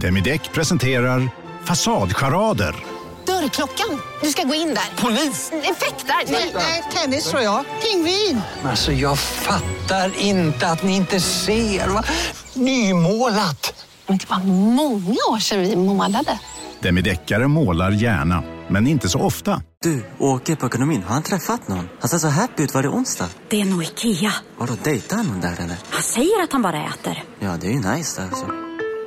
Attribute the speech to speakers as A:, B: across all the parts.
A: Demideck presenterar Fasadcharader.
B: Dörrklockan. Du ska gå in där. Polis? Effektar? Nej, nej, tennis tror jag. Pingvin.
C: Alltså jag fattar inte att ni inte ser. Va? Nymålat!
B: Men det var många år sedan vi målade.
A: Demideckare målar gärna, men inte så ofta.
D: Du, åker på ekonomin. Har han träffat någon? Han ser så happy ut. Var det onsdag?
E: Det är nog Ikea.
D: Har du dejtar han någon där eller?
E: Han säger att han bara äter.
D: Ja, det är ju nice där alltså.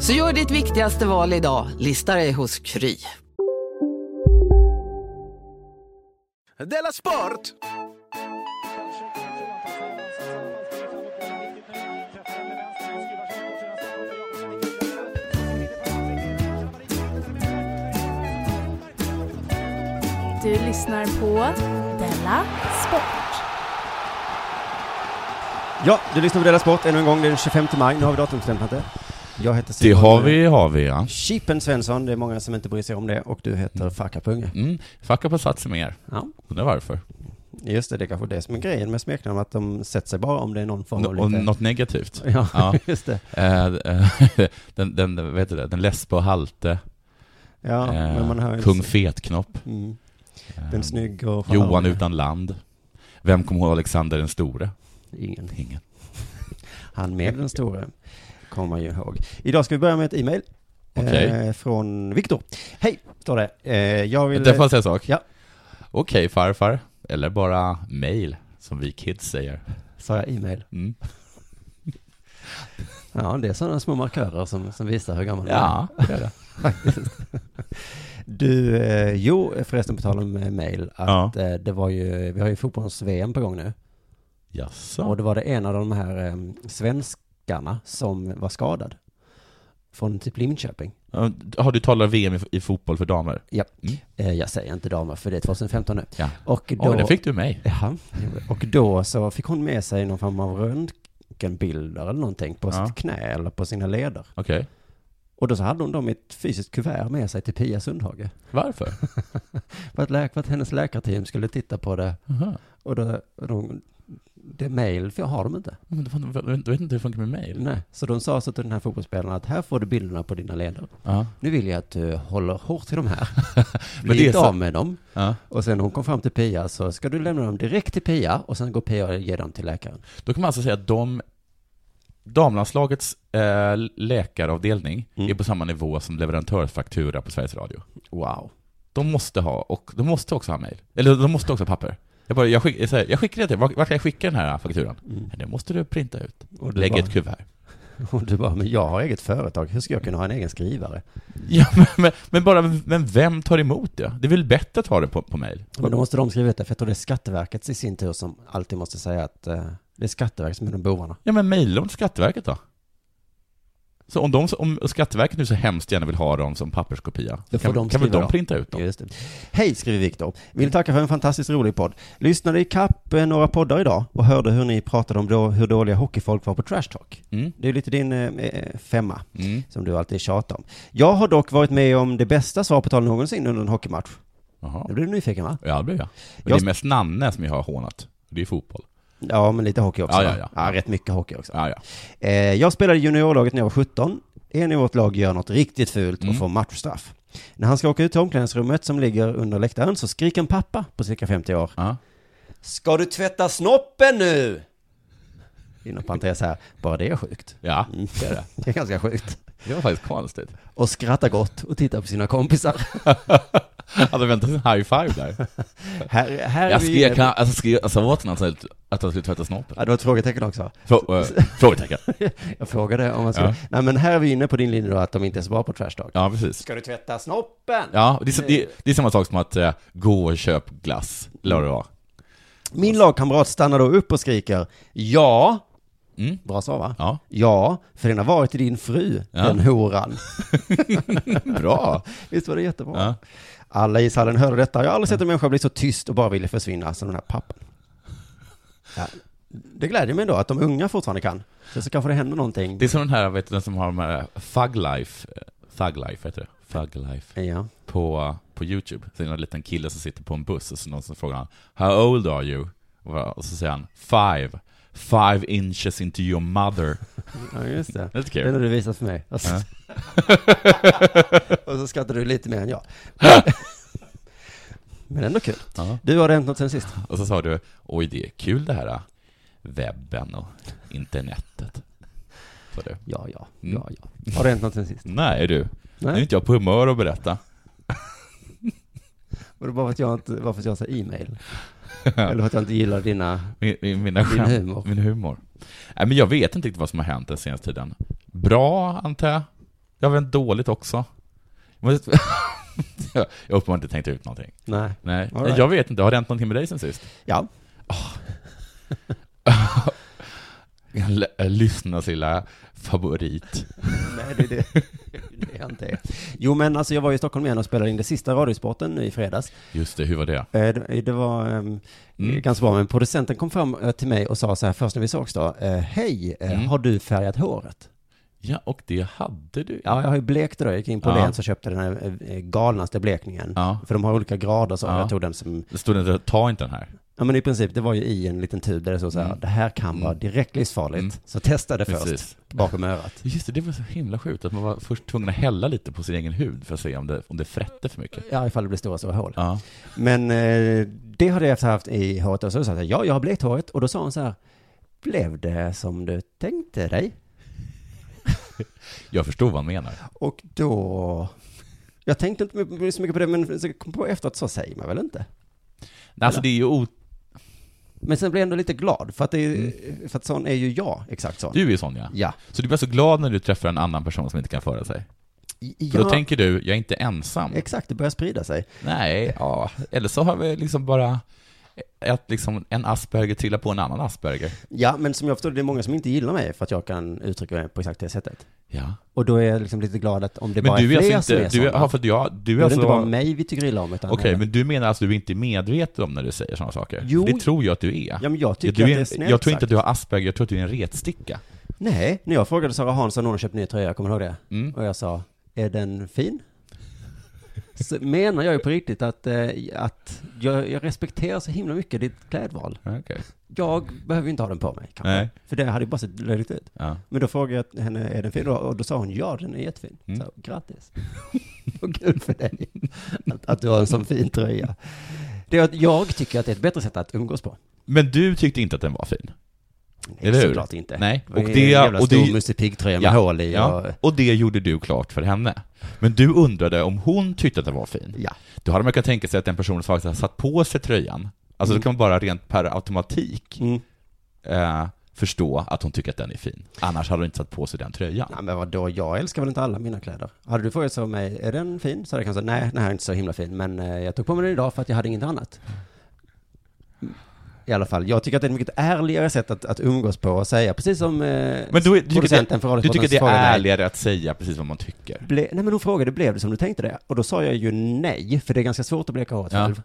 F: Så gör ditt viktigaste val idag, listar dig hos Kry.
G: Della Sport!
H: Du lyssnar på Della Sport.
I: Ja, du lyssnar på Della Sport ännu en gång. Det är den 25 maj. Nu har vi datumstämt, Matte. Jag heter
J: Det
I: Simon-
J: har vi, har vi ja.
I: Chippen Svensson. Det är många som inte bryr sig om det. Och du heter Farkapunge.
J: Mm. Fuck på satsen mer.
I: Ja.
J: Undrar varför.
I: Just det, det är kanske det som är grejen med smeknamn. Att de sätter sig bara om det är någon form av
J: Och
I: lite...
J: något negativt.
I: Ja, just det.
J: Eh, eh, den, den, vet du det, den läspe och halte,
I: Ja,
J: eh,
I: men man hör ju
J: kung
I: inte-
J: fetknopp, Eh,
I: Mm. Den snygg och...
J: Johan utan land. Vem kommer ihåg Alexander den store?
I: Ingen.
J: Ingen.
I: Han med den store kommer man ju ihåg. Idag ska vi börja med ett e-mail.
J: Okej.
I: Eh, från Viktor. Hej, står det. Eh, jag vill...
J: Där får jag säga en sak?
I: Ja.
J: Okej farfar, eller bara mail, som vi kids säger.
I: Sa jag e-mail?
J: Mm.
I: Ja, det är sådana små markörer som, som visar hur gammal man
J: Ja,
I: är. Faktiskt. Du, eh, jo förresten på tal om eh, mail, att eh, det var ju, vi har ju fotbolls-VM på gång nu. Och
J: Jaså?
I: det var det en av de här eh, svenskarna som var skadad. Från typ Linköping.
J: Ja, Har du talat VM i, i fotboll för damer?
I: Ja.
J: Mm.
I: Eh, jag säger inte damer, för det är 2015 nu.
J: Ja.
I: Och då,
J: Oj, det fick du mig.
I: Ja, och då så fick hon med sig någon form av röntgenbilder eller någonting på
J: Ja.
I: sitt knä eller på sina leder.
J: Okej.
I: Och då så hade hon dem i ett fysiskt kuvert med sig till Pia Sundhage.
J: Varför?
I: För att, läk, för att hennes läkarteam skulle titta på det.
J: Aha.
I: Och då, de, det mail för jag har dem inte.
J: Men du fan- du vet inte hur det funkar med mail?
I: Nej. Så de sa så till den här fotbollsspelaren att här får du bilderna på dina leder.
J: Ja.
I: Nu vill jag att du håller hårt i de här.
J: Men det
I: Bli
J: är
I: inte
J: så-
I: av med dem.
J: Ja.
I: Och sen när hon kom fram till Pia så ska du lämna dem direkt till Pia och sen går Pia och ger dem till läkaren.
J: Då kan man alltså säga att de, damlandslagets eh, läkaravdelning
I: Mm.
J: är på samma nivå som leverantörsfaktura på Sveriges Radio.
I: Wow.
J: De måste ha, och de måste också ha mejl. Eller de måste också ha papper. Jag, bara, jag, skick, jag, säger, jag skickar det till Vart vart kan jag skicka den här fakturan?
I: Mm.
J: Nej, Det måste du printa ut.
I: Och du
J: Lägg
I: bara-
J: ett kuvert.
I: Och du bara, men jag har eget företag, hur ska jag kunna ha en egen skrivare?
J: Ja, men, men, men bara, men vem tar emot det? Det är väl bättre att ha det på, på mejl?
I: Men då måste de skriva ut det, för jag tror det är Skatteverket i sin tur som alltid måste säga att eh, det är Skatteverket som är de bovarna.
J: Ja, men mejla dem till Skatteverket då. Så om, de, om Skatteverket nu så hemskt gärna vill ha dem som papperskopia,
I: Då får
J: kan,
I: de
J: kan väl
I: skriva
J: de
I: dem.
J: printa ut dem?
I: Just det. Hej, skriver Viktor. Vill tacka för en fantastiskt rolig podd. Lyssnade i kapp eh, några poddar idag och hörde hur ni pratade om då, hur dåliga hockeyfolk var på Trash Talk.
J: Mm.
I: Det är lite din eh, eh, femma,
J: Mm.
I: som du alltid tjatar om. Jag har dock varit med om det bästa svar på tal någonsin under en hockeymatch.
J: Jaha.
I: Nu blir du nyfiken va?
J: Ja, det blev jag. Men
I: Jag-
J: det är mest Nanne som jag har hånat. Det är fotboll.
I: Ja, men lite hockey också.
J: Ja, ja,
I: va?
J: ja.
I: rätt mycket hockey också.
J: Ja, ja.
I: Eh, jag spelade i juniorlaget när jag var 17. En i vårt lag gör något riktigt fult och
J: Mm.
I: får matchstraff. När han ska åka ut till omklädningsrummet som ligger under läktaren så skriker en pappa på cirka 50 år.
J: ja.
I: Ska du tvätta snoppen nu? Inom parentes här, bara det är sjukt. Mm.
J: Ja, det är det.
I: Det är ganska sjukt.
J: Det var faktiskt konstigt.
I: Och skratta gott och titta på sina kompisar.
J: Hade väntat en high five där.
I: Här, här
J: Jag
I: är vi
J: skrev,
I: inne på-
J: kan, alltså, skrev, alltså åt honom att, att han skulle tvätta snoppen.
I: Ja, det var ett frågetecken också.
J: Frå, äh, frågetecken.
I: Jag frågade om man skulle...
J: Ja.
I: Nej men här är vi inne på din linje då, att de inte är så bra på trash talk.
J: Ja, precis.
I: Ska du tvätta snoppen?
J: Ja, det är, det, är- det är samma sak som att eh, gå och köp glass, eller vad det var.
I: Min lagkamrat stannar då upp och skriker Ja,
J: Mm.
C: Bra svar va?
I: Ja.
C: ja, för den har varit din fru,
I: Ja.
C: den horan.
I: Bra.
C: Visst var det jättebra?
I: Ja.
C: Alla i salen hörde detta. Jag har aldrig sett en människa bli så tyst och bara ville försvinna som den här pappan. Ja. Det gläder mig ändå att de unga fortfarande kan. Sen så kanske det händer någonting.
I: Det är som den här, vet du, den som har de här eh, Thug Life, eh, Thug Life heter det, Thug Life,
C: Ja.
I: på, på YouTube. Så är det en liten kille som sitter på en buss och så någon som frågar han, How old are you? Och va- Och så säger han, Five. Five inches into your mother.
C: Ja, just det.
I: Det är lite
C: Den har
I: kul.
C: du visat för mig. Alltså.
I: Ja.
C: och så skrattar du lite mer än jag. Men ändå kul.
I: Ja.
C: Du, har det hänt något sen sist?
I: Och så sa du, oj det är kul det här, eh, webben och internetet. Sa du.
C: Ja, ja,
I: Mm.
C: ja, ja. Har det hänt något sen sist?
I: Nej du, nu är
C: Nej,
I: inte jag på humör att berätta.
C: var det bara för att jag inte, bara för att jag sa e-mail? Eller för att jag inte gillar dina...
I: Min, min, mina
C: Din
I: skämt,
C: humor.
I: Min humor. Nej, men jag vet inte riktigt vad som har hänt den senaste tiden. Bra, antar jag. Jag vet inte dåligt också. Men- jag har uppenbarligen inte tänkt ut någonting.
C: Nej.
I: Nej,
C: All right.
I: jag vet inte. Har det hänt någonting med dig sen sist?
C: Ja.
I: L- äh, Lyssna lilla favorit.
C: Nej, det är det. det är jag inte är. Jo, men alltså jag var ju i Stockholm igen och spelade in det sista Radiosporten nu i fredags.
I: Just det, hur var det?
C: Eh, Det det var ehm,
I: Mm.
C: ganska bra, men producenten kom fram eh, till mig och sa så här först när vi sågs då, eh, hej, eh,
I: Mm.
C: har du färgat håret?
I: Ja, och det hade du.
C: Ja, jag har ju blekt det då. Jag gick in på
I: Ja.
C: Åhléns och köpte den här eh, galnaste blekningen.
I: Ja.
C: För de har olika grader så.
I: Ja.
C: Jag tog den som,
I: Det stod inte, ta inte den här.
C: ja men i princip, det var ju i en liten tub där det stod så här,
I: Mm.
C: det här kan vara direkt livsfarligt.
I: Mm.
C: Så testa det först,
I: Precis.
C: bakom örat.
I: Just det, det var så himla sjukt att man var först tvungen att hälla lite på sin egen hud för att se om det, om det frätte för mycket.
C: Ja, ifall det blir stora, stora hål.
I: Ja.
C: Men eh, det hade jag efter haft i håret och så sa jag ja, jag har blekt håret. Och då sa hon så här, blev det som du tänkte dig?
I: Jag förstod vad han menar.
C: Och då, jag tänkte inte så mycket på det, men så kom på efteråt, så säger man väl inte?
I: Nej, Alltså det är ju o-
C: Men sen blev jag ändå lite glad, för att, det är, för att sån är ju jag, exakt sån.
I: Mm. Du är ju sån ja.
C: Ja.
I: Så du blir så glad när du träffar en annan person som inte kan föra sig?
C: I-
I: För
C: ja.
I: då tänker du, jag är inte ensam.
C: Exakt, det börjar sprida sig.
I: Nej, ja. Eller så har vi liksom bara att liksom en asperger trillar på en annan asperger.
C: Ja, men som jag förstår det är många som inte gillar mig för att jag kan uttrycka mig på exakt det sättet.
I: Ja.
C: Och då är jag liksom lite glad att om det
I: Men
C: bara
I: du
C: är
I: är
C: fler
I: alltså
C: som
I: inte,
C: är
I: du är,
C: sådana.
I: ja, för att jag, du
C: Då
I: är
C: är det inte bara
I: alltså,
C: mig vi tycker illa om, utan...
I: okej, men du menar alltså att du inte är medveten om när du säger sådana saker?
C: Jo.
I: Det tror jag att du är.
C: Ja, men jag tycker
I: du
C: att
I: är
C: det är
I: en-
C: snällt
I: Jag tror inte
C: sagt.
I: att du har asperger, jag tror att du är en retsticka.
C: Nej, när jag frågade Sara Hansson när hon köpte ny tröja, kommer du ihåg det?
I: Mm.
C: Och jag sa, är den fin? Så menar jag ju på riktigt att, eh, att jag, jag respekterar så himla mycket ditt klädval.
I: Okej.
C: Jag behöver ju inte ha den på mig kanske.
I: Nej.
C: För det hade ju bara sett löjligt ut.
I: Ja.
C: Men då frågade jag henne, är den fin? Och då sa hon, ja den är jättefin.
I: Mm.
C: Så, grattis. Och kul för dig. Att, att du har en sån fin tröja. Det är att jag tycker att det är ett bättre sätt att umgås på.
I: Men du tyckte inte att den var fin?
C: Nej,
I: Eller hur?
C: Såklart inte.
I: Nej.
C: Och
I: Och
C: det
I: det-
C: är en jävla
I: och
C: stor
I: det-
C: Musse Pigg-tröja med hål i.
I: ja.
C: Och,
I: och det gjorde du klart för henne. Men du undrade om hon tyckte att den var fin.
C: ja.
I: Då hade man kunnat tänka sig att den personen som faktiskt har satt på sig tröjan, alltså då kan man bara rent per automatik
C: Mm.
I: eh, förstå att hon tycker att den är fin. Annars hade hon inte satt på sig den tröjan.
C: Ja, men vadå, jag älskar väl inte alla mina kläder. Hade du frågat så av mig, är den fin? Så hade jag kanske sagt, nej, den här är inte så himla fin, men eh, jag tog på mig den idag för att jag hade inget annat. I alla fall, jag tycker att det är ett mycket ärligare sätt att, att umgås på och säga, precis som eh,
I: Men då, är- du, tycker
C: producenten för
I: det, du tycker
C: Radiosportens
I: det
C: fråga
I: är
C: mig.
I: ärligare att säga precis vad man tycker?
C: Ble, nej men hon frågade, blev det som du tänkte det? Och då sa jag ju nej, för det är ganska svårt att bleka håret
I: Ja.
C: själv.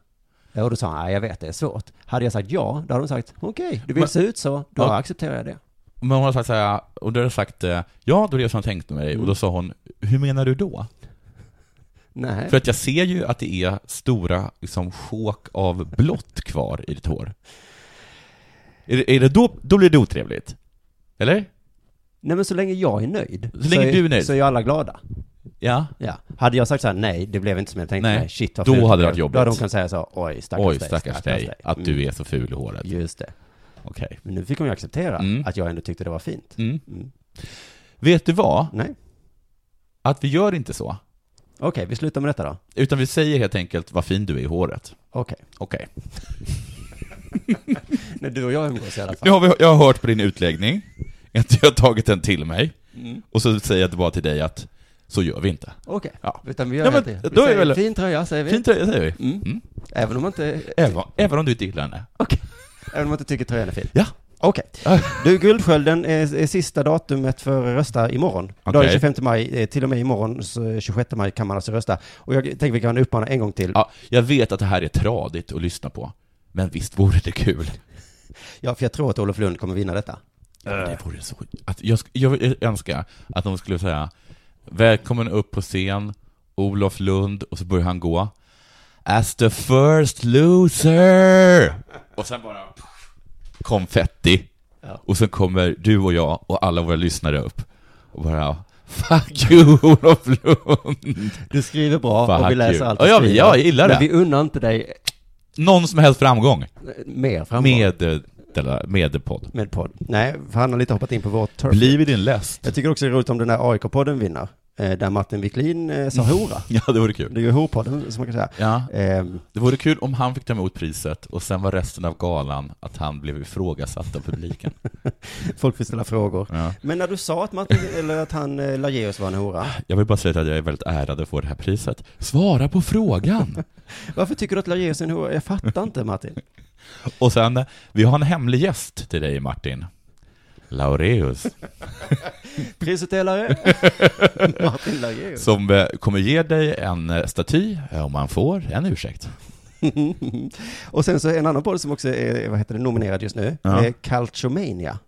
C: Ja, och då sa han, nej jag vet det är svårt. Hade jag sagt ja, då hade hon sagt, okej, du vill
I: Men-
C: se ut så, då
I: Ja.
C: accepterar jag det.
I: Men hon har sagt så här, och då har jag sagt eh, ja, då är det som jag tänkte med dig,
C: Mm.
I: och då sa hon, hur menar du då?
C: Nej.
I: För att jag ser ju att det är stora liksom, sjok av blått kvar i ditt hår. Är det, är det då, då blir det otrevligt? Eller?
C: Nej men så länge jag är nöjd.
I: Så länge du är nöjd.
C: Så är ju alla glada.
I: Ja.
C: Ja. Hade jag sagt så här, nej, det blev inte som jag tänkte
I: Nej.
C: mig, shit vad
I: Då
C: fult
I: hade det
C: blev.
I: varit jobbigt.
C: Då hade de kunnat säga så, oj stackars
I: Oj,
C: dig.
I: stackars dig, att
C: Mm,
I: du är så ful i håret.
C: Just det.
I: Okej.
C: Men nu fick hon ju acceptera
I: Mm.
C: att jag ändå tyckte det var fint.
I: Mm.
C: Mm.
I: Vet du vad?
C: Nej.
I: Att vi gör inte så.
C: Okej, vi slutar med detta då.
I: Utan vi säger helt enkelt vad fin du är i håret.
C: Okej.
I: Okej.
C: Nej, du och jag umgås i alla fall.
I: Nu har vi, jag har hört på din utläggning, att jag har tagit den till mig, och så säger jag bara till dig att så gör vi inte.
C: Mm. Okej.
I: Ja.
C: Utan vi gör
I: Ja,
C: helt
I: men
C: det. Vi
I: då är
C: säger,
I: väl-
C: Fin tröja säger vi.
I: Fin tröja säger vi.
C: Mm. Även om man inte,
I: Även, även om du inte gillar henne.
C: även om man inte tycker tröjan är fin.
I: Ja.
C: Okej. Du, Guldskölden är, är sista datumet för att rösta imorgon. Idag är det
I: Okej.
C: 25 maj, eh, till och med imorgon så 26 maj kan man alltså rösta. Och jag tänker vi kan uppmana en gång till.
I: Ja, jag vet att det här är tradigt att lyssna på, men visst vore det kul?
C: Ja, för jag tror att Olof Lund kommer vinna detta.
I: Ja,
C: Eh.
I: det vore så... Att jag, sk- jag önskar att de skulle säga Välkommen upp på scen, Olof Lund, och så börjar han gå As the first loser! Och sen bara konfetti. Och sen kommer du och jag och alla våra lyssnare upp och bara Fuck you Olof Lund!
C: Du skriver bra och
I: Fuck
C: vi läser
I: you.
C: allt
I: ja,
C: du
I: jag,
C: skriver.
I: jag gillar det.
C: Men vi unnar inte dig
I: Någon som helst framgång.
C: mer framgång.
I: Med, eh, dela- med podd.
C: Med podd. Nej, för han har lite hoppat in på vår turf.
I: Bli vid din läst.
C: Jag tycker också det är roligt om den här AIK-podden vinner. Eh, där Martin Wiklin eh, sa hora.
I: Mm. Ja, det vore kul.
C: Det är ju horpodden som man kan säga.
I: Ja.
C: Ehm,
I: Det vore kul om han fick ta emot priset och sen var resten av galan att han blev ifrågasatt av publiken.
C: folk får ställa frågor.
I: Ja.
C: Men när du sa att Martin, eller att han eh, Lageus var en hora.
I: Jag vill bara säga att jag är väldigt ärad att få det här priset. Svara på frågan!
C: Varför tycker du att Lageus är en hora? Jag fattar inte Martin.
I: Och sen, eh, vi har en hemlig gäst till dig Martin. Laureus,
C: Prisutdelare. Martin Lageus.
I: som eh, kommer ge dig en eh, staty, eh, om han får, en ursäkt.
C: och sen så en annan podd som också är, eh, vad heter det, nominerad just nu.
I: Ja.
C: Är Calciomania.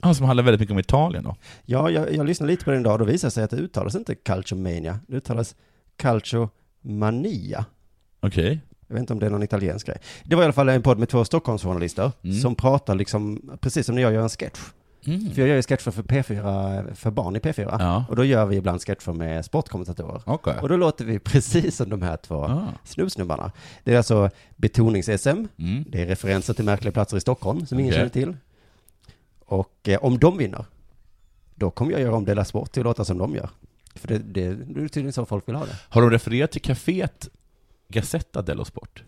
I: Han som handlar väldigt mycket om Italien då.
C: Ja, jag, jag lyssnade lite på den idag och då visade det sig att det uttalas inte Calciomania. Det uttalas Calciomania.
I: Okej.
C: Jag vet inte om det är någon italiensk grej. Det var i alla fall en podd med två Stockholmsjournalister
I: Mm.
C: som pratar liksom, precis som när jag gör en sketch.
I: Mm.
C: För jag gör ju sketcher för P4, för barn i P4.
I: Ja.
C: Och då gör vi ibland sketcher med sportkommentatorer.
I: Okej.
C: Och då låter vi precis som de här två
I: Ah.
C: snubbsnubbarna. Det är alltså betonings-SM,
I: Mm.
C: det är referenser till märkliga platser i Stockholm som ingen
I: Okej.
C: känner till. Och eh, om de vinner, då kommer jag göra om Della Sport till att låta som de gör. För det, det, det är typ- tydligen så folk vill ha det.
I: Har de refererat till kaféet Gazzetta dello Sport?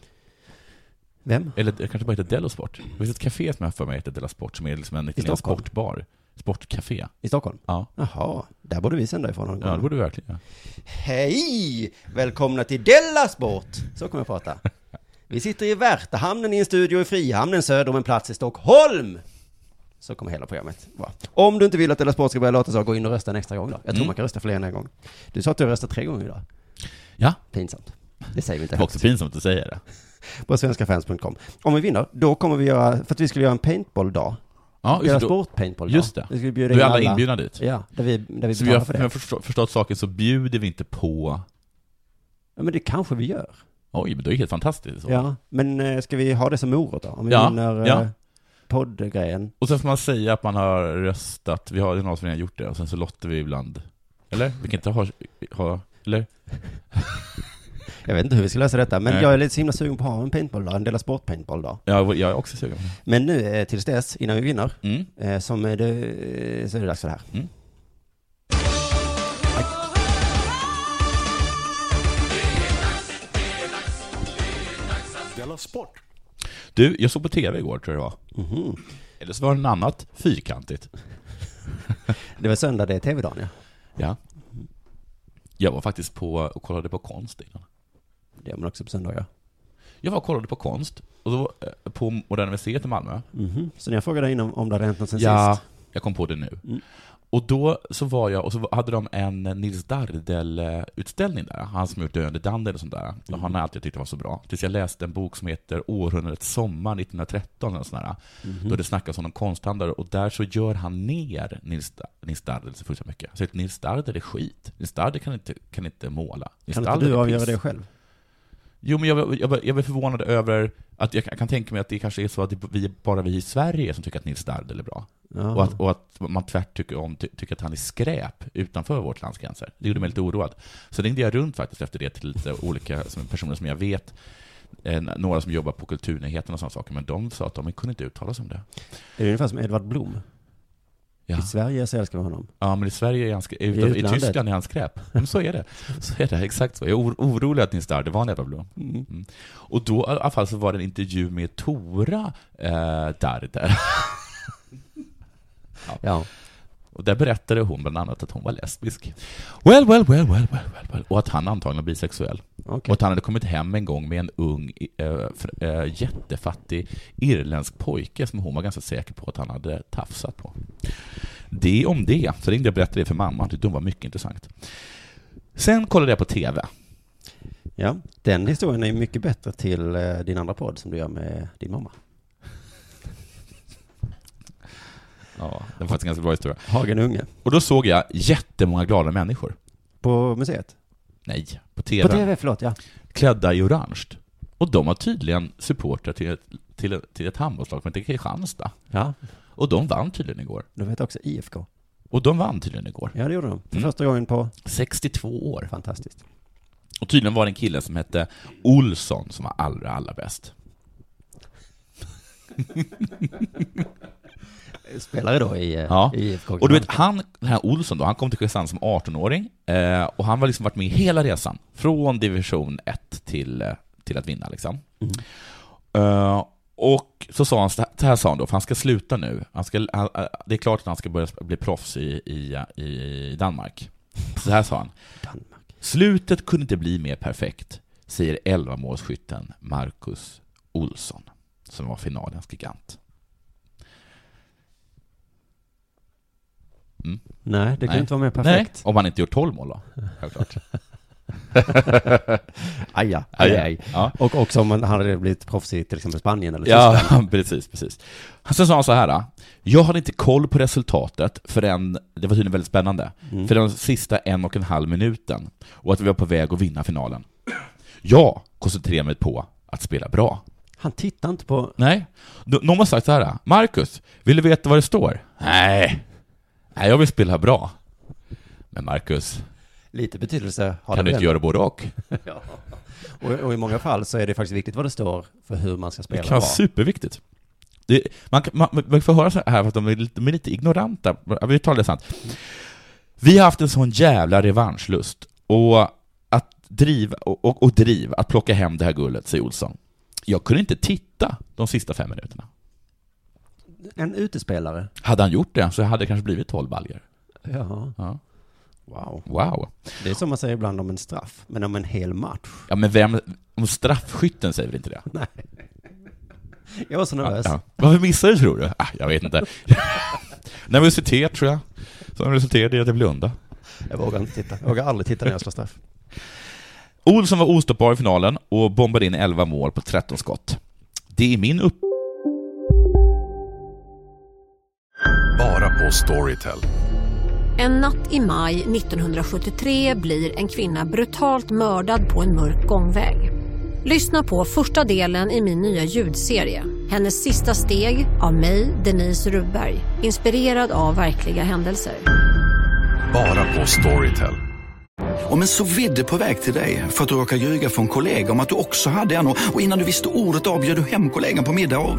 C: Vem?
I: Eller det kanske bara heter Dello Sport? Det finns ett café som jag har för mig heter Della Sport, som är liksom en italiensk
C: Stockholm?
I: sportbar. Sportcafé.
C: I Stockholm?
I: Ja.
C: Jaha, där borde vi sända ifrån någon
I: Ja, det
C: gång.
I: borde du verkligen göra.
C: Hej! Välkomna till Della Sport! Så kommer jag prata. Vi sitter i Värtahamnen i en studio i Frihamnen söder om en plats i Stockholm! Så kommer hela programmet vara. Om du inte vill att Della Sport ska börja låta så, gå in och rösta en extra gång då. Jag tror
I: Mm.
C: man kan rösta fler än en gång. Du sa att du har röstat tre gånger idag.
I: Ja,
C: Pinsamt. Det säger vi inte
I: det var också pinsamt att du säger det.
C: på svenskafans.com. Om vi vinner, då kommer vi göra, för att vi skulle göra en paintball-dag.
I: Ja,
C: Göra
I: då-
C: sport paintball-dag.
I: Just det.
C: Vi skulle bjuda
I: Du är
C: in
I: alla inbjudna dit.
C: Ja, där vi, där vi
I: Så vi har,
C: betalar för
I: om
C: det.
I: jag förstå- förstått saken så bjuder vi inte på...
C: Ja, men det kanske vi gör.
I: Oj, men det är ju helt fantastiskt. Så.
C: Ja, men eh, ska vi ha det som morot då? Om vi
I: Ja,
C: vinner eh,
I: ja.
C: poddgrejen.
I: Och sen får man säga att man har röstat, vi har det är någon som redan gjort det, och sen så lottar vi ibland. Eller? Vi kan inte ha... ha eller?
C: Jag vet inte hur vi ska lösa detta, men
I: Nej.
C: jag är lite så himla sugen på att ha en paintball då, en del av sport paintball då.
I: Ja, jag är också sugen på
C: Men nu eh, tills dess, innan vi vinner,
I: det. Mm.
C: eh, som är det, eh, så är det dags för det här.
I: Mm.
G: Della Sport.
I: Du, jag såg på TV igår, tror jag det var.
C: Mhm.
I: Eller så var det något annat fyrkantigt.
C: Det var söndag, det är tv-dagen ja.
I: Ja. Jag var faktiskt på och kollade på konst innan.
C: Det är man också på söndagar.
I: Jag var och kollade på konst, och då, eh, på Moderna Museet i Malmö.
C: Mhm. Så när jag frågade dig innan om det hade hänt något sen sist.
I: Jag kom på det nu.
C: Mm.
I: Och då så var jag, och så hade de en Nils Dardel-utställning där, han som gjort Döende Dandel och sånt där. Och Han
C: Mm.
I: har alltid tyckt det var så bra. Tills jag läste en bok som heter Århundradets sommar 1913, eller sånt där.
C: Mhm.
I: Då det snackas om en konsthandlare, och där så gör han ner Nils, Da- Nils Dardel så fruktansvärt mycket. Så att Nils Dardel är skit. Nils Dardel kan inte, kan inte måla. Nils
C: Kan inte
I: Dardel
C: du
I: är
C: avgöra
I: piss.
C: det själv?
I: Jo, men jag, var- jag, var- jag blev förvånad över att jag kan, jag kan tänka mig att det kanske är så att det, vi, bara vi i Sverige som tycker att Nils Dardel är bra.
C: Ja.
I: Och att, och att man tvärt tycker, om, ty, tycker att han är skräp utanför vårt lands gränser. Det gjorde mig lite oroad. Så ringde jag runt faktiskt efter det till lite olika som, personer som jag vet, eh, några som jobbar på Kulturnyheterna och sådana saker, men de sa att de kunde inte uttala sig om det.
C: Är det ungefär som Edvard Blom?
I: Ja.
C: I Sverige så älskar man honom.
I: Ja, men i Sverige är han skräp, utan, i
C: utlandet.
I: Tyskland är han skräp. Men så är det. Så är det, exakt så. Jag är or- orolig att Nils Darde var en jävla blå. Mm. Och då i alla fall så var det en intervju med Tora eh, Darde.
C: Ja.
I: Och där berättade hon bland annat att hon var lesbisk. Well, well, well, well, well, well, well. Och att han antagligen var bisexuell. Och att han hade kommit hem en gång med en ung, eh, fr- eh, jättefattig irländsk pojke som hon var ganska säker på att han hade tafsat på. Det om det. Så ringde jag och berättade det för mamma. Hon tyckte det var mycket intressant. Sen kollade jag på TV.
C: Ja, den historien är ju mycket bättre till eh, din andra podd som du gör med din mamma.
I: Ja, det var faktiskt en ganska bra historia.
C: Hagen Unge.
I: Och då såg jag jättemånga glada människor.
C: På museet?
I: Nej, på TV.
C: På tv, förlåt, ja.
I: Klädda i orange. Och de var tydligen supportrar till ett, till ett, till ett handbollslag som heter Kristianstad.
C: Ja.
I: Och de vann tydligen igår.
C: Du vet också IFK.
I: Och de vann tydligen igår.
C: Ja, det gjorde de. För
I: Mm.
C: första gången på...
I: 62 år.
C: Fantastiskt.
I: Och tydligen var det en kille som hette Olsson som var allra, allra bäst.
C: Spelare då i, eh,
I: Ja.
C: i IFK.
I: Och du vet, han, den här Olsson då, han kom till Kristianstad som 18-åring eh, och han har liksom varit med hela resan. Från division 1 till, eh, till att vinna liksom.
C: Mm.
I: Eh, och så sa han, så här- så här sa han då, för han ska sluta nu. Han ska, han, eh, det är klart att han ska börja bli proffs i, i, eh, i Danmark. Så här sa han. Slutet kunde inte bli mer perfekt, säger 11-målsskytten Marcus Olsson, som var finalens gigant.
C: Nej, det kan
I: Mm. Nej.
C: inte vara mer perfekt.
I: Nej, om han inte gjort 12 mål då, självklart.
C: Aj, ja.
I: Aj,
C: aj,
I: ja.
C: aj.
I: Ja.
C: Och också om han hade blivit proffs i till exempel Spanien eller Tyskland.
I: Ja, precis, precis. Sen sa han så här, "Ah, jag hade inte koll på resultatet förrän, det var tydligen väldigt spännande,
C: Mm.
I: för den sista en och en halv minuten och att vi var på väg att vinna finalen. Jag koncentrerade mig på att spela bra.
C: Han tittar inte på...
I: Nej. Nå- Någon har sagt så här, Marcus, vill du veta vad det står? Nej. Nej, jag vill spela bra. Men Marcus,
C: Lite betydelse har
I: kan
C: det
I: du inte
C: väl?
I: göra både och?
C: Ja. Och, och i många fall så är det faktiskt viktigt vad det står för hur man ska spela
I: Det kan vara
C: bra.
I: superviktigt. Det, man, kan- man, man får höra så här för att de är lite, de är lite ignoranta. Vi talar det sant. Vi har haft en sån jävla revanschlust och att driva, och, och, och driv att plocka hem det här guldet, säger Olsson. Jag kunde inte titta de sista fem minuterna.
C: En utespelare.
I: Hade han gjort det så hade det kanske blivit 12 baljor.
C: Ja.
I: Ja.
C: Wow.
I: Wow.
C: Det är som man säger ibland om en straff, men om en hel match.
I: Ja, men vem, om straffskytten säger väl inte det?
C: Nej. Jag var så nervös.
I: Ja. Varför missade du tror du? Ah, jag vet inte. Nervositet tror jag, som resulterade i att jag blundade.
C: Jag vågar inte titta. Jag vågar aldrig titta när jag slår straff.
I: Olsson var ostoppbar i finalen och bombade in 11 mål på 13 skott. Det är min upp...
G: Bara på Storytel.
H: En natt i maj 1973 blir en kvinna brutalt mördad på en mörk gångväg. Lyssna på första delen i min nya ljudserie. Hennes sista steg av mig, Denise Rubberg. Inspirerad av verkliga händelser.
G: Bara på Storytel.
D: Om en så vidde på väg till dig för att du råkar ljuga från kollega om att du också hade en och och innan du visste ordet av bjöd du hem kollegan på middag och...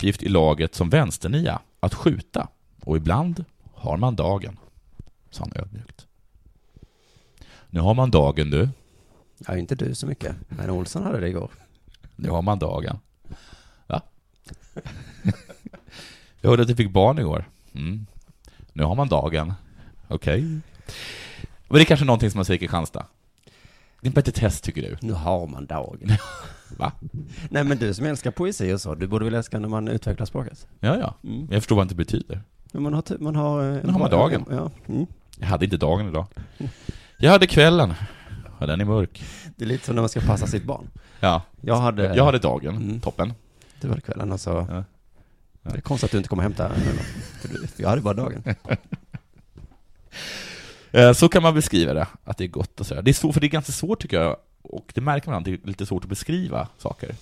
I: uppgift i laget som vänsternia att skjuta och ibland har man dagen, sa han ödmjukt. Nu har man dagen du,
C: Ja, inte du så mycket. Men Olsson hade det igår.
I: nu har man dagen. Va? Jag hörde att du fick barn igår. Mm. Nu har man dagen. Okej. Men det är kanske någonting som man säger i Kristianstad. Det är en petitess tycker du.
C: Nu har man dagen.
I: Va?
C: Nej, men du som älskar poesi och så, du borde väl älska när man utvecklar språket?
I: Ja, ja.
C: Mm.
I: Jag förstår vad det inte betyder.
C: Men man har... ty- Man har eh,
I: Nu har man dagen.
C: Ja. Mm.
I: Jag hade inte dagen idag. Jag hade kvällen. Ja, den är mörk.
C: Det är lite som när man ska passa sitt barn.
I: Ja.
C: Jag hade...
I: Jag hade dagen.
C: Mm.
I: Toppen.
C: Det var kvällen och så...
I: Ja. Ja.
C: Det är konstigt att du inte kommer hämta henne då. För du- för Jag hade bara dagen.
I: Eh, Så kan man beskriva det, att det är gott och sådär. Det är svårt, för det är ganska svårt tycker jag, och det märker man, att det är lite svårt att beskriva saker.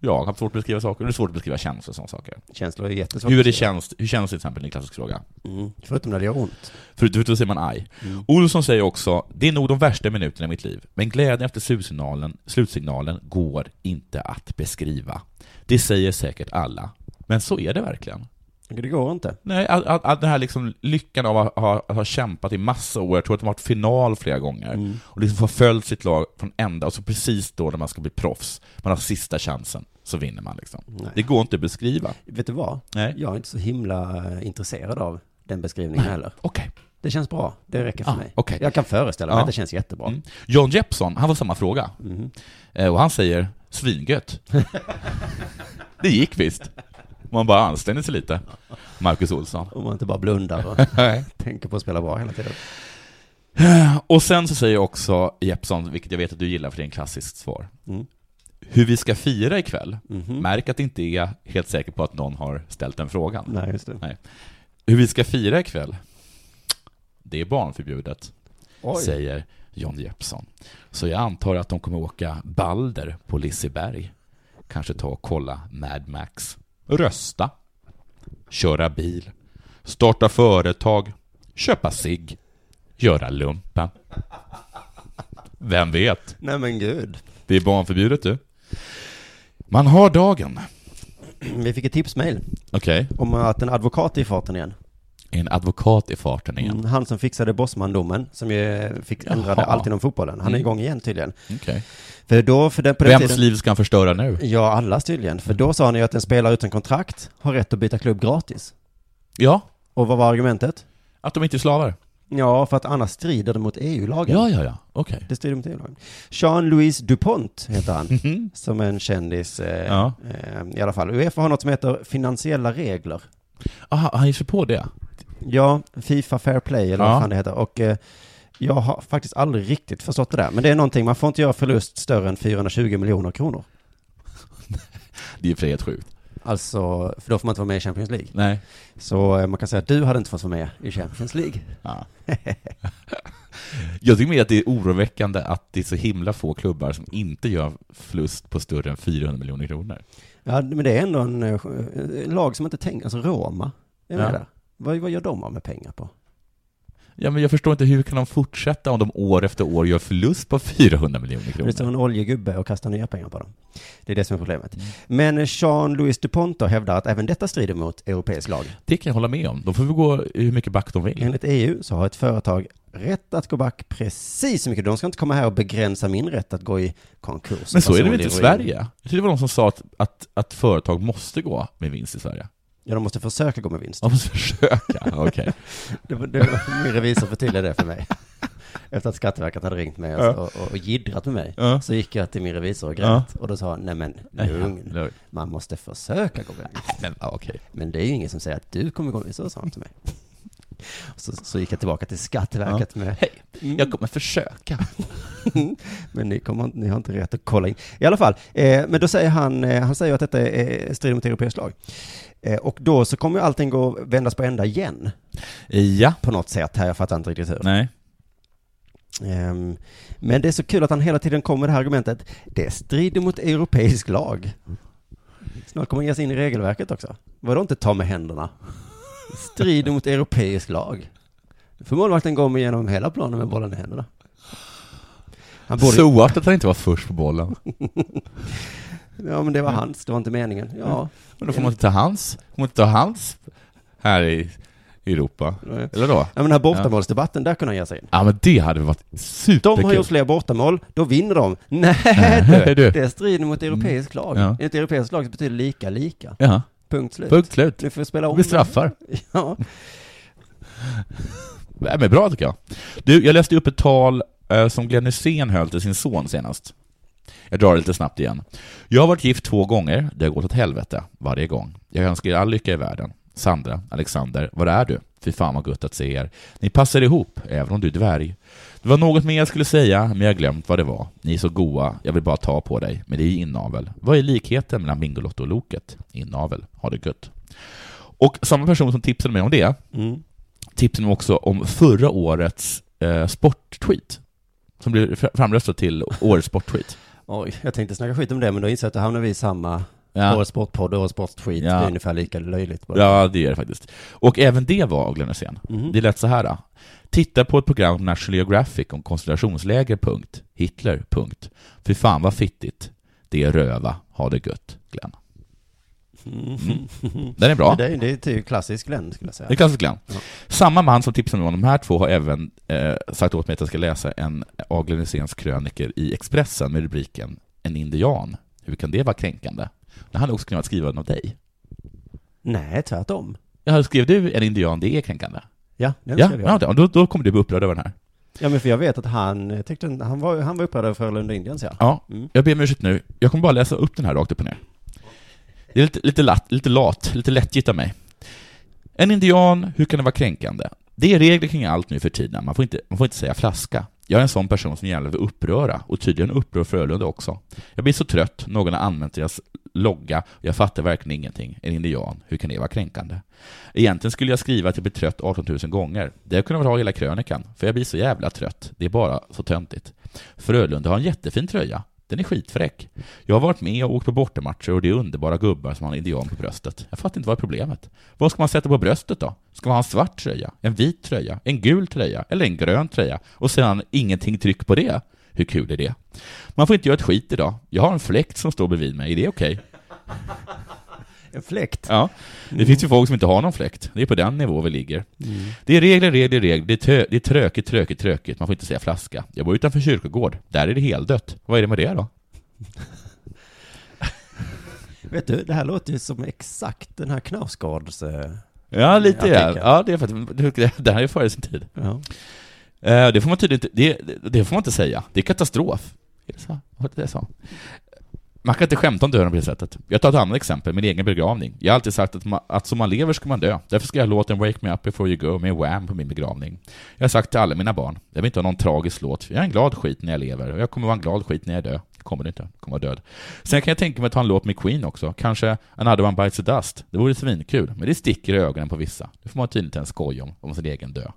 I: Jag har svårt att beskriva saker, och det är svårt att beskriva känslor och sådana saker.
C: Känslor är jättesvårt
I: Hur,
C: att
I: det
C: beskriva.
I: känns, hur känns det till exempel, Niklas klassisk fråga?
C: Mm. Förutom när det gör ont. Mm.
I: Förutom då säger man aj. Olsson säger också, det är nog de värsta minuterna i mitt liv, men glädjen efter slutsignalen, slutsignalen går inte att beskriva. Det säger säkert alla, men så är det verkligen.
C: Det går inte.
I: Nej, att, att, att den här liksom lyckan av att ha, att ha kämpat i massa år, jag tror att de har varit final flera gånger,
C: Mm.
I: och liksom förföljt sitt lag från ända, och så precis då när man ska bli proffs, man har sista chansen, så vinner man liksom. Det går inte att beskriva.
C: Vet du vad?
I: Nej.
C: Jag är inte så himla eh, intresserad av den beskrivningen heller.
I: Okej.
C: Det känns bra. Det räcker för
I: Ah,
C: mig.
I: okej.
C: Jag kan föreställa mig
I: Ja.
C: att det känns jättebra.
I: Mm. John Jeppson, han får samma fråga.
C: Mhm.
I: Eh, Och han säger svingött. det gick visst. Om man bara ansträngde sig lite. Marcus Olsson.
C: Om man inte bara blundar och
I: Nej. Eh,
C: tänker på att spela bra hela tiden.
I: Och sen så säger också Jeppson, vilket jag vet att du gillar för det är en klassiskt svar.
C: Mm.
I: Hur vi ska fira ikväll.
C: Mhm.
I: Märk att det inte är helt säker på att någon har ställt den frågan.
C: Nej, just det.
I: Nej. Hur vi ska fira ikväll. Det är barnförbjudet.
C: Oj.
I: Säger John Jeppson. Så jag antar att de kommer åka Balder på Liseberg. Kanske ta och kolla Mad Max. Rösta. Köra bil. Starta företag. Köpa sig. Göra lumpen. Vem vet?
C: Nej men gud.
I: Det är barnförbjudet du. Man har dagen.
C: Vi fick ett tipsmail.
I: Okej.
C: Om att en advokat är i farten igen.
I: En advokat i farten igen.
C: Mm, han som fixade Bosman-domen, som ju fick ändrade
I: Jaha.
C: allt inom fotbollen. Han är
I: Mm.
C: igång igen tydligen.
I: Okej.
C: För då, för den, på den
I: Vems
C: tiden,
I: liv ska han förstöra nu?
C: Ja, allas tydligen. För då sa han ju att en spelare utan kontrakt har rätt att byta klubb gratis.
I: Ja.
C: Och vad var argumentet?
I: Att de inte är slavar?
C: Ja, för att annars strider det mot EU-lagen.
I: Ja, ja, ja. Okej.
C: Det strider mot EU-lagen. Jean-Louis DuPont heter han, som är en kändis eh,
I: Ja.
C: eh, i alla fall. Uefa har något som heter finansiella regler.
I: Aha, han ger sig på det?
C: Ja, Fifa Fair Play eller
I: Ja.
C: vad fan det heter. Och eh, jag har faktiskt aldrig riktigt förstått det där. Men det är någonting, man får inte göra förlust större än 420 miljoner kronor.
I: Det är för helt sjukt.
C: Alltså, för då får man inte vara med i Champions League.
I: Nej.
C: Så eh, man kan säga att du hade inte fått vara med i Champions League.
I: Ja. Jag tycker mer att det är oroväckande att det är så himla få klubbar som inte gör förlust på större än 400 miljoner kronor.
C: Ja, men det är ändå en, eh, en lag som inte tänker, alltså Roma, är med
I: Ja.
C: där. Vad, vad gör de av med pengar på?
I: Ja, men jag förstår inte hur kan de fortsätta om de år efter år gör förlust på 400 miljoner
C: Det står
I: kronor?
C: en oljegubbe och kastar nya pengar på dem. Det är det som är problemet.
I: Mm.
C: Men Jean-Louis DuPont då hävdar att även detta strider mot europeisk lag.
I: Det kan jag hålla med om. De får väl gå hur mycket back de vill.
C: Enligt EU E så har ett företag rätt att gå back precis så mycket. De ska inte komma här och begränsa min rätt att gå i konkurs.
I: Men så är det väl inte i
C: Personlig ruin.
I: Sverige? Jag tyckte det var någon som sa att, att, att företag måste gå med vinst i Sverige.
C: Ja, de måste försöka gå med vinst.
I: De måste försöka, okej.
C: Det var, det var, min revisor förtydligade det för mig. Efter att Skatteverket hade ringt mig och,
I: Ja.
C: och, och giddrat med mig.
I: Ja.
C: Så gick jag till min revisor och grät.
I: Ja.
C: Och då sa han, nej men
I: Nej,
C: lugn.
I: lugn.
C: Man måste försöka gå med vinst.
I: Men, ja, okej.
C: Men det är ju ingen som säger att du kommer gå med vinst. Så sa han till mig. Så, så gick jag tillbaka till Skatteverket med,
I: Hej, jag kommer försöka.
C: Mm. men ni, kommer, inte- ni har inte rätt att kolla in. I alla fall, eh, men då säger han, eh, han säger att detta är, eh, strider mot europeisk lag. Eh, och då så kommer ju allting gå, vändas på ända igen.
I: Ja.
C: På något sätt här, jag fattar inte riktigt hur.
I: Nej.
C: Ehm, Men det är så kul att han hela tiden kommer med det här argumentet. Det strider mot europeisk lag. Snart kommer han ge sig in i regelverket också. Vadå inte ta med händerna? Strider mot europeisk lag. Nu får målvakten gå med genom hela planen med bollen i händerna. Han borde...
I: Så att han inte var först på bollen.
C: Ja men det var hans, det var inte meningen. Ja.
I: Men då får man inte ta hans, får man inte ta hans här i i Europa. Eller då?
C: Ja men den här bortamålsdebatten, där kunde han ge sig in.
I: Ja men det hade varit superkul.
C: De har gjort fler bortamål, då vinner de. Nej du,
I: Nej, du.
C: det strider mot europeisk lag.
I: Ja.
C: Enligt europeisk lag så betyder lika lika.
I: Ja.
C: Punkt slut.
I: Punkt slut.
C: Nu får vi spela om.
I: Vi straffar.
C: Ja.
I: Nej, men bra tycker jag. Du, jag läste upp ett tal eh, som Glenn Hysén höll till sin son senast. Jag drar det lite snabbt igen. Jag har varit gift två gånger, det har gått åt helvete varje gång. Jag önskar er all lycka i världen. Sandra, Alexander, var är du? Fy fan vad gött att se er. Ni passar ihop, även om du är dvärg. Det var något mer jag skulle säga, men jag har glömt vad det var. Ni är så goa, jag vill bara ta på dig. Men det är ju inavel. Vad är likheten mellan Bingolotto och Loket? Inavel. Ha det gött. Och samma person som tipsade mig om det,
C: Mm.
I: tipsade mig också om förra årets eh, sporttweet. Som blev fr- framröstad till årets sporttweet.
C: Oj, jag tänkte snacka skit om det, men då inser jag att då hamnar vi i samma
I: Ja.
C: Årets sportpodd och årets sportskit.
I: Ja.
C: Det är ungefär lika löjligt bara.
I: Ja, det gör det faktiskt. Och även det var av Glenn Hysén.
C: Mhm.
I: Det lät så här. Då. Titta på ett program på National Geographic om koncentrationsläger, punkt. Hitler, punkt. Fy fan vad fittigt. Det är röva. Ha det gött, Glenn. Mm. Den är bra.
C: Det, är- det är typ klassisk Glenn skulle jag säga.
I: Det är klassisk Glenn.
C: Ja.
I: Samma man som tipsade mig om de här två har även eh, sagt åt mig att jag ska läsa en av Glenn Hyséns kröniker i Expressen med rubriken En indian. Hur kan det vara kränkande? Det hade också kunnat skriva den av dig.
C: Nej, tvärtom.
I: Ja, skrev du en indian, det är kränkande?
C: Ja, den
I: ja,
C: skrev jag.
I: ja då, då kommer du bli upprörd över den här.
C: Ja, men för jag vet att han eh, tyckte, han var, han var upprörd över Frölunda Indians ja.
I: Ja,
C: Mm.
I: jag ber om ursäkt nu. Jag kommer bara läsa upp den här rakt upp och ner. Det är lite, lite, lat, lite lat, lite lättjigt av mig. En indian, hur kan det vara kränkande? Det är regler kring allt nu för tiden. Man får inte, man får inte säga flaska. Jag är en sån person som gärna vill uppröra och tydligen upprör Frölunda också. Jag blir så trött, någon har använt deras logga och jag fattar verkligen ingenting. En indian, hur kan det vara kränkande? Egentligen skulle jag skriva att jag blir trött 18 000 gånger. Det hade jag kunnat ha hela krönikan, för jag blir så jävla trött. Det är bara så töntigt. Frölunda har en jättefin tröja. Den är skitfräck. Jag har varit med och åkt på bortamatcher och det är underbara gubbar som har en indian på bröstet. Jag fattar inte vad är problemet. Vad ska man sätta på bröstet då? Ska man ha en svart tröja, en vit tröja, en gul tröja eller en grön tröja och sedan ingenting tryck på det? Hur kul är det? Man får inte göra ett skit idag. Jag har en fläkt som står bredvid mig, är det okej?
C: En fläkt?
I: Ja. Det finns ju folk som inte har någon fläkt. Det är på den nivå vi ligger.
C: Mm.
I: Det är regler, regler, regler. Det är, tö- det är trökigt, trökigt, trökigt. Man får inte säga flaska. Jag bor utanför kyrkogård. Där är det heldött. Vad är det med det då?
C: Vet du, det här låter ju som exakt den här Knausgårds... eh,
I: Ja, lite ja.
C: artikeln.
I: ja det, är faktiskt, det här är före sin tid.
C: Ja.
I: Eh, Det får man tydligt, det, det får man inte säga. Det är katastrof. Är det så? Var det det jag sa? Man kan inte skämta om döden på det sättet. Jag tar ett annat exempel, min egen begravning. Jag har alltid sagt att, ma- att som man lever ska man dö. Därför ska jag ha låten Wake Me Up Before You Go med Wham på min begravning. Jag har sagt till alla mina barn, jag vill inte ha någon tragisk låt. Jag är en glad skit när jag lever och jag kommer vara en glad skit när jag dör. Jag kommer inte, jag kommer vara död. Sen kan jag tänka mig att ha en låt med Queen också. Kanske Another One Bites the Dust. Det vore svinkul, men det sticker i ögonen på vissa. Det får man tydligen inte ens skoja om, om sin egen dö.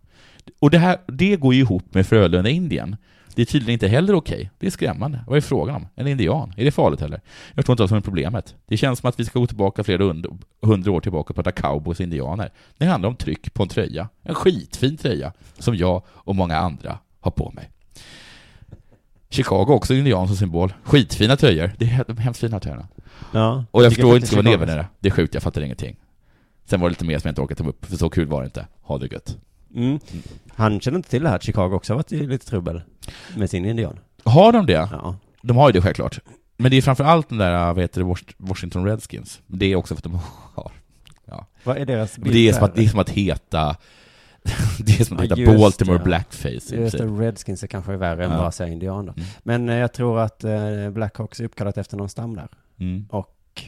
I: Och det, här, det går ju ihop med Frölunda-Indien. Det är tydligen inte heller okej. Det är skrämmande. Vad är frågan om? En indian? Är det farligt heller? Jag tror inte vad som är problemet. Det känns som att vi ska gå tillbaka flera hund- hundra år tillbaka och prata cowboys och indianer. Det handlar om tryck på en tröja. En skitfin tröja som jag och många andra har på mig. Chicago har också indian som symbol. Skitfina tröjor. Det är de hemskt fina tröjorna.
C: Ja,
I: och
C: jag
I: jag
C: tycker
I: förstår
C: faktiskt
I: inte vad
C: Chicago-
I: neven är. Det är sjukt, jag fattar ingenting. Sen var det lite mer som jag inte orkade ta upp, för så kul var det inte. Ha det gött.
C: Mm. Han känner inte till det här, att Chicago också har varit i lite trubbel med sin indian.
I: Har de det?
C: Ja.
I: De har ju det självklart. Men det är framförallt den där, vad heter det, Wash- Washington Redskins. Det är också för att de har... Ja.
C: Vad är deras
I: Men det, är
C: bild
I: som att,
C: där?
I: det är som att heta... Det är som att
C: Ja,
I: heta
C: just
I: Baltimore
C: det.
I: Blackface. i
C: Just
I: princip.
C: det, Redskins är kanske värre än
I: Ja. Mm.
C: bara att säga indianer. Men eh, jag tror att eh, Blackhawks är uppkallat efter någon stam där.
I: Mm.
C: Och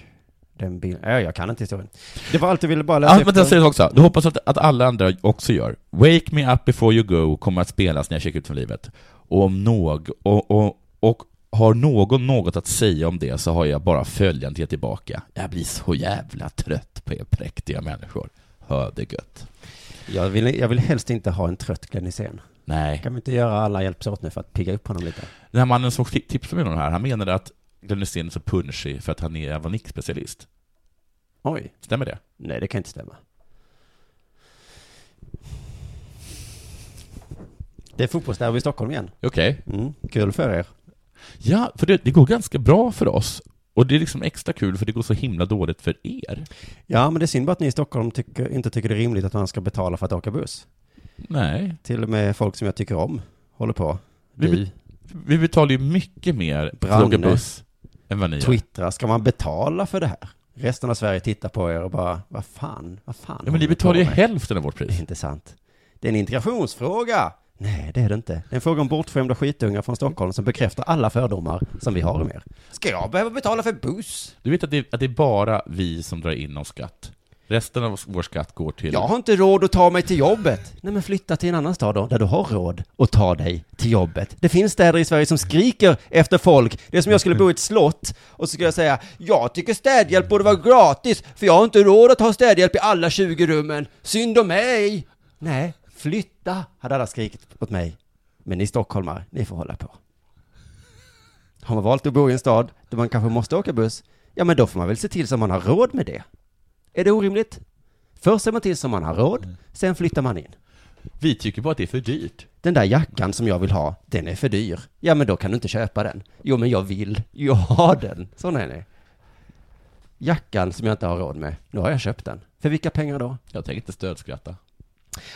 C: den bilden, äh, jag kan inte historien. Det var allt jag ville bara läsa
I: Ja, men jag säger det också. Du hoppas att, att alla andra också gör. Wake Me Up Before You Go kommer att spelas när jag checkar ut från livet. Och om någ, och, och, och har någon något att säga om det så har jag bara följande till tillbaka. Jag blir så jävla trött på er präktiga människor. Hör det gött.
C: Jag vill, jag vill helst inte ha en trött Glenn Hysén.
I: Nej.
C: Kan vi inte göra alla hjälps åt nu för att pigga upp honom lite?
I: Den här mannen som ti- tipsade mig om det här, han menade att Glenn Hysén är så punschig för att han är avanikspecialist.
C: Oj.
I: Stämmer det?
C: Nej, det kan inte stämma. Det är fotbollsderby i Stockholm igen.
I: Okej.
C: Mm, kul för er.
I: Ja, för det, det går ganska bra för oss. Och det är liksom extra kul för det går så himla dåligt för er.
C: Ja, men det är synd bara att ni i Stockholm tycker, inte tycker det är rimligt att man ska betala för att åka buss.
I: Nej.
C: Till och med folk som jag tycker om håller på.
I: Vi,
C: Du,
I: be- vi betalar ju mycket mer för att
C: Branne.
I: åka buss än vad ni gör.
C: twittrar, ska man betala för det här? Resten av Sverige tittar på er och bara, vad fan, vad fan.
I: Ja, men
C: håller
I: ni
C: på
I: betalar ju
C: med?"
I: hälften av vårt pris.
C: Det är inte sant. Det är en integrationsfråga. Nej, det är det inte. Det är en fråga om bortskämda skitungar från Stockholm som bekräftar alla fördomar som vi har om er. Ska jag behöva betala för buss?
I: Du vet att det, att det är bara vi som drar in någon skatt. Resten av vår skatt går till...
C: Jag har inte råd att ta mig till jobbet. Nej, men flytta till en annan stad då, där du har råd att ta dig till jobbet. Det finns städer i Sverige som skriker efter folk. Det är som om jag skulle bo i ett slott och så skulle jag säga, jag tycker städhjälp borde vara gratis, för jag har inte råd att ha städhjälp i alla 20 rummen. Synd om mig! Nej, flytta, hade alla skrikit åt mig. Men ni stockholmare, ni får hålla på. Har man valt att bo i en stad där man kanske måste åka buss, ja men då får man väl se till så man har råd med det. Är det orimligt? Först ser man till så man har råd, sen flyttar man in.
I: Vi tycker bara att det är för dyrt.
C: Den där jackan som jag vill ha, den är för dyr. Ja men då kan du inte köpa den. Jo men jag vill, jag har den. Sån är det. Jackan som jag inte har råd med, nu har jag köpt den. För vilka pengar då?
I: Jag tänker inte stödskratta.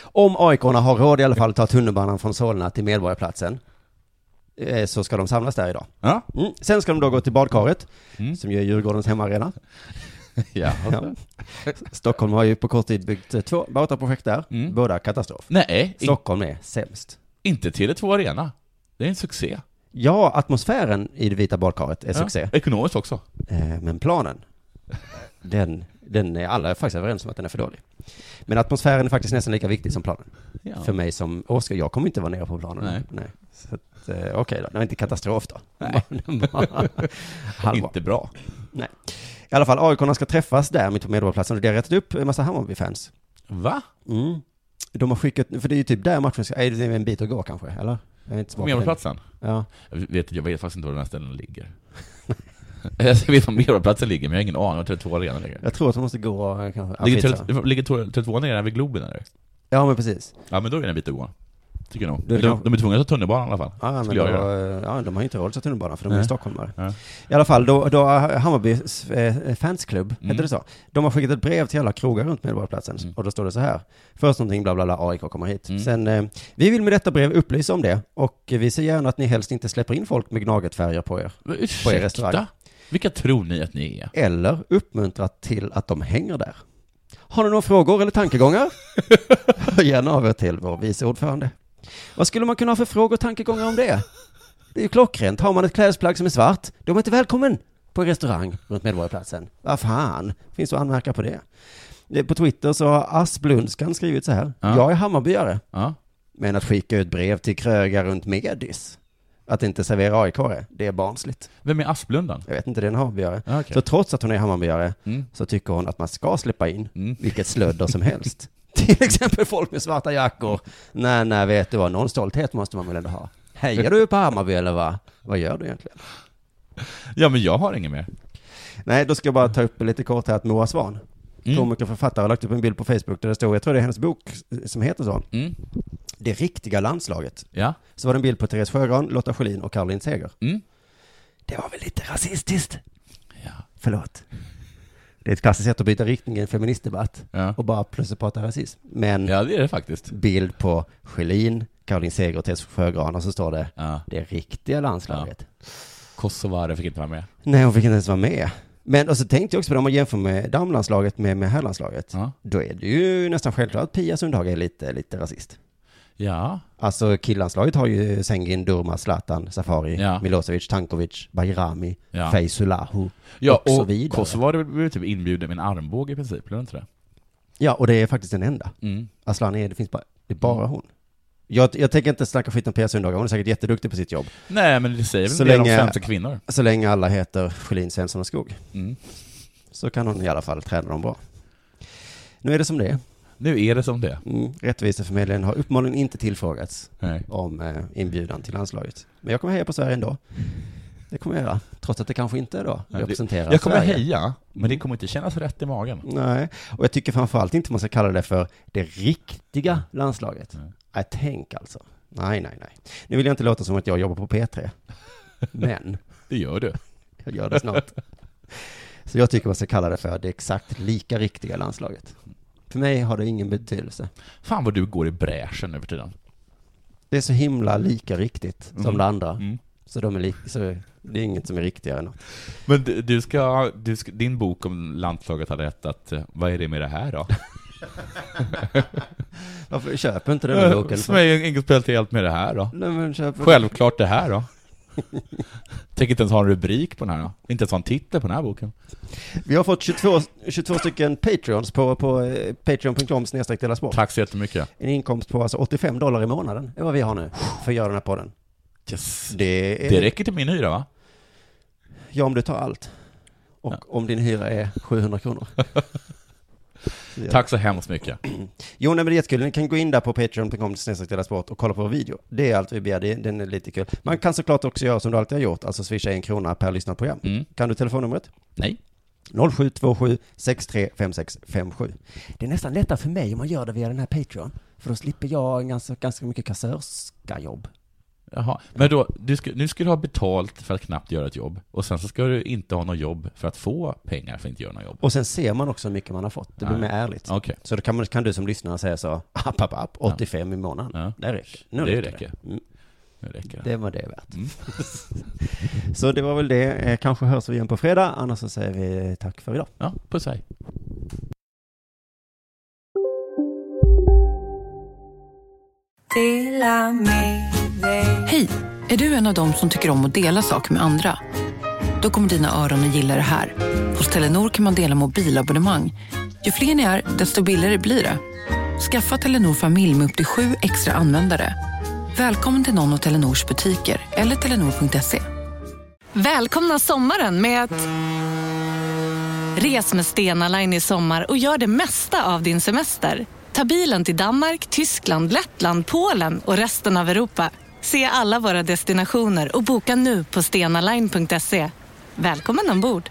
C: Om aik har råd i alla fall att ta tunnelbanan från Solna till Medborgarplatsen, eh, så ska de samlas där idag.
I: Ja. Mm.
C: Mm. Sen ska de då gå till badkaret, som ju är Djurgårdens hemmaarena.
I: Ja.
C: Stockholm har ju på kort tid byggt eh, två projekt där, båda katastrof.
I: Mm. Nej. in-
C: Stockholm är sämst.
I: Inte Tele2 Arena. Det är en succé.
C: Ja, atmosfären i det vita badkaret är
I: Ja,
C: succé.
I: Ekonomiskt också.
C: Eh, Men planen, den, den är alla faktiskt överens om att den är för dålig. Men atmosfären är faktiskt nästan lika viktig som planen.
I: Ja.
C: För mig som Oskar, jag kommer inte vara nere på planen.
I: Nej.
C: Så att, eh, okej då, det var inte katastrof då.
I: Nej.
C: Halva.
I: Inte bra.
C: Nej. I alla fall, aik ska träffas där mitt på Medborgarplatsen och det har rättat upp en massa Hammarby-fans.
I: Va?
C: Mm. De har skickat, för det är ju typ där matchen ska, är det är en bit att gå kanske, eller? Jag är inte så bra på den.
I: Medborgarplatsen?
C: Ja.
I: Jag vet, jag vet faktiskt inte var den här ställen ligger. jag vet var Medborgarplatsen ligger, men jag har ingen aning var Tele2 Arena ligger.
C: Jag tror att de måste gå eh, kanske... ja,
I: Ligger
C: skitsamma.
I: Tele- Ligger Tele2 nere vid Globen eller?
C: Ja, men precis.
I: Ja men då är det en bit att gå. Tycker jag nog.
C: Det
I: De,
C: kanske-
I: de är tvungna att ta tunnelbanan i alla fall.
C: Ja, men
I: Skulle
C: då,
I: jag göra.
C: Eh, ja, de har ju inte hållit sig till tunnelbanan för de är
I: Nej.
C: stockholmare.
I: Ja.
C: I alla fall, då, då har Hammarbys eh, fansklubb,
I: Mm.
C: heter det så? De har skickat ett brev till alla krogar runt Medborgarplatsen och då står det så här. Först någonting bla bla bla, AIK kommer hit.
I: Mm.
C: Sen, eh, vi vill med detta brev upplysa om det och vi ser gärna att ni helst inte släpper in folk med gnagetfärger på er.
I: Men
C: På er
I: ursäkta?
C: restaurang.
I: Vilka tror ni att ni är?
C: Eller uppmuntra till att de hänger där. Har ni några frågor eller tankegångar? Hör gärna av er till vår vice ordförande. Vad skulle man kunna ha för frågor och tankegångar om det? Det är ju klockrent. Har man ett klädesplagg som är svart, då är man inte välkommen på en restaurang runt Medborgarplatsen. Vad fan, finns det att anmärka på det? Eh, På Twitter så har Asplundskan skrivit så här.
I: Ja.
C: Jag är Hammarbyare.
I: Ja.
C: Men att skicka ut brev till krögar runt Medis, att inte servera AIK, -are, det är barnsligt.
I: Vem är Asplundan?
C: Jag vet inte, det är en Hammarbyare.
I: Ja, okej.
C: Så trots att hon är Hammarbyare
I: Mm.
C: så tycker hon att man ska släppa in vilket slödder som helst. Till exempel folk med svarta jackor. Nej, nej, vet du vad, någon stolthet måste man väl ändå ha. Hejar du på Hammarby eller vad? Vad gör du egentligen?
I: Ja men jag har ingen mer.
C: Nej, då ska jag bara ta upp lite kort här att Moa Svahn,
I: Mm.
C: komiker och författare, har lagt upp en bild på Facebook där det står, jag tror det är hennes bok som heter så,
I: Mm.
C: Det riktiga landslaget.
I: Ja.
C: Så var det en bild på Therese Sjögran, Lotta Schelin och Caroline Seger.
I: Mm.
C: Det var väl lite rasistiskt? Förlåt. Det är ett klassiskt sätt att byta riktning i en feministdebatt
I: Ja.
C: och bara plötsligt prata rasism. Men
I: Ja det är det faktiskt.
C: bild på Schelin, Caroline Seger och Therese Sjögran och så står det det riktiga landslaget.
I: Kosovare fick inte vara med.
C: Nej, hon fick inte ens vara med. Men och så tänkte jag också på det, om man jämför med damlandslaget med, med herrlandslaget, då är det ju nästan självklart att Pia Sundhage är lite, lite rasist.
I: Ja.
C: Alltså killandslaget har ju Sengin, Durma, Zlatan, Safari,
I: Ja.
C: Milosevic, Tankovic, Bajrami,
I: Ja.
C: Feysulahu
I: Ja
C: och så
I: och,
C: vidare.
I: Kosovare blev typ inbjuden med en armbåge i princip, blev det inte det?
C: Ja, och det är faktiskt den enda.
I: Mm.
C: Asllani, är- det finns bara, det är bara hon. Jag, jag tänker inte snacka skit om Pia Sundhage, hon är säkert jätteduktig på sitt jobb.
I: Nej men det säger väl en del om svenska kvinnor.
C: Så länge alla heter Schelin, Svensson och Skog.
I: Mm.
C: Så kan hon i alla fall träna dem bra. Nu är det som det är.
I: Nu är det som det
C: Mm. Rättviseförmedlingen har uppenbarligen inte tillfrågats
I: Nej.
C: om eh, inbjudan till landslaget. Men jag kommer heja på Sverige ändå. Det kommer jag göra, trots att det kanske inte då
I: Nej, det-
C: representerar
I: Jag kommer
C: Sverige. Mm.
I: heja, men det kommer inte kännas rätt i magen.
C: Nej, och jag tycker framförallt inte man ska kalla det för det riktiga landslaget. Nej, tänk alltså. Nej, nej, nej. Nu vill jag inte låta som att jag jobbar på P3. Men.
I: Det gör du.
C: Jag gör det snart. Så jag tycker man ska kalla det för det exakt lika riktiga landslaget. För mig har det ingen betydelse.
I: Fan vad du går i bräschen nu för tiden.
C: Det är så himla lika riktigt som
I: Mm.
C: det andra.
I: Mm.
C: Så, de är lik, så det är inget som är riktigare än något.
I: Men du, du, ska, du ska, din bok om landslaget hade hetat eh, Vad är det med det här då?
C: Varför köper inte den här
I: Eh,
C: boken?
I: Som är inget speciellt med det här då?
C: Nej, men köp-
I: Självklart det här då? Tänker inte ens ha en rubrik på den här då? Inte ens ha en titel på den här boken?
C: Vi har fått 22, 22 stycken Patreons på, på eh, patreon.com snedstreck Della sport.
I: Tack så jättemycket.
C: En inkomst på alltså 85 dollar i månaden är vad vi har nu för att göra den här podden.
I: Yes.
C: Det, är,
I: Det räcker till min hyra va?
C: Ja, om du tar allt. Och om din hyra är 700 kronor.
I: Tack så hemskt mycket.
H: Jo, nej, men det är jättekul. Ni kan gå in där på patreon.com sport och kolla på vår video. Det är allt vi begär, Det- den är lite kul. Man kan såklart också göra som du alltid har gjort, alltså swisha en krona per lyssnat program. Kan du telefonnumret?
I: Nej.
H: 0727 635657. Det är nästan lättare för mig om man gör det via den här Patreon, för då slipper jag en ganska, ganska mycket kassörska-jobb.
I: Jaha. Men då, du ska, nu ska du ha betalt för att knappt göra ett jobb, och sen så ska du inte ha något jobb för att få pengar för att inte göra något jobb.
H: Och sen ser man också hur mycket man har fått. Det blir
I: Nej.
H: mer ärligt.
I: Okej.
H: Så då kan, man, kan du som lyssnare säga så, app, app, app, 85 i månaden. Det räcker. Nu
I: Det
H: räcker
I: räcker.
H: det. Mm.
I: Nu räcker det. Mm.
H: Det var det värt. så det var väl det. Eh, Kanske hörs vi igen på fredag, annars så säger vi tack för idag.
I: Ja, puss hej.
K: Hej! Är du en av dem som tycker om att dela saker med andra? Då kommer dina öron att gilla det här. Hos Telenor kan man dela mobilabonnemang. Ju fler ni är, desto billigare blir det. Skaffa Telenor familj med upp till sju extra användare. Välkommen till någon av Telenors butiker eller telenor.se.
B: Välkomna sommaren med att... Res med Stena Line i sommar och gör det mesta av din semester. Ta bilen till Danmark, Tyskland, Lettland, Polen och resten av Europa. Se alla våra destinationer och boka nu på stenaline.se. Välkommen ombord!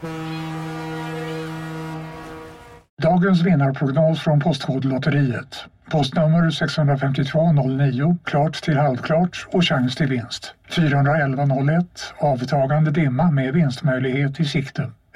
C: Dagens vinnarprognos från Postkodlotteriet. Postnummer 65209, klart till halvklart och chans till vinst. 41101, avtagande dimma med vinstmöjlighet i sikte.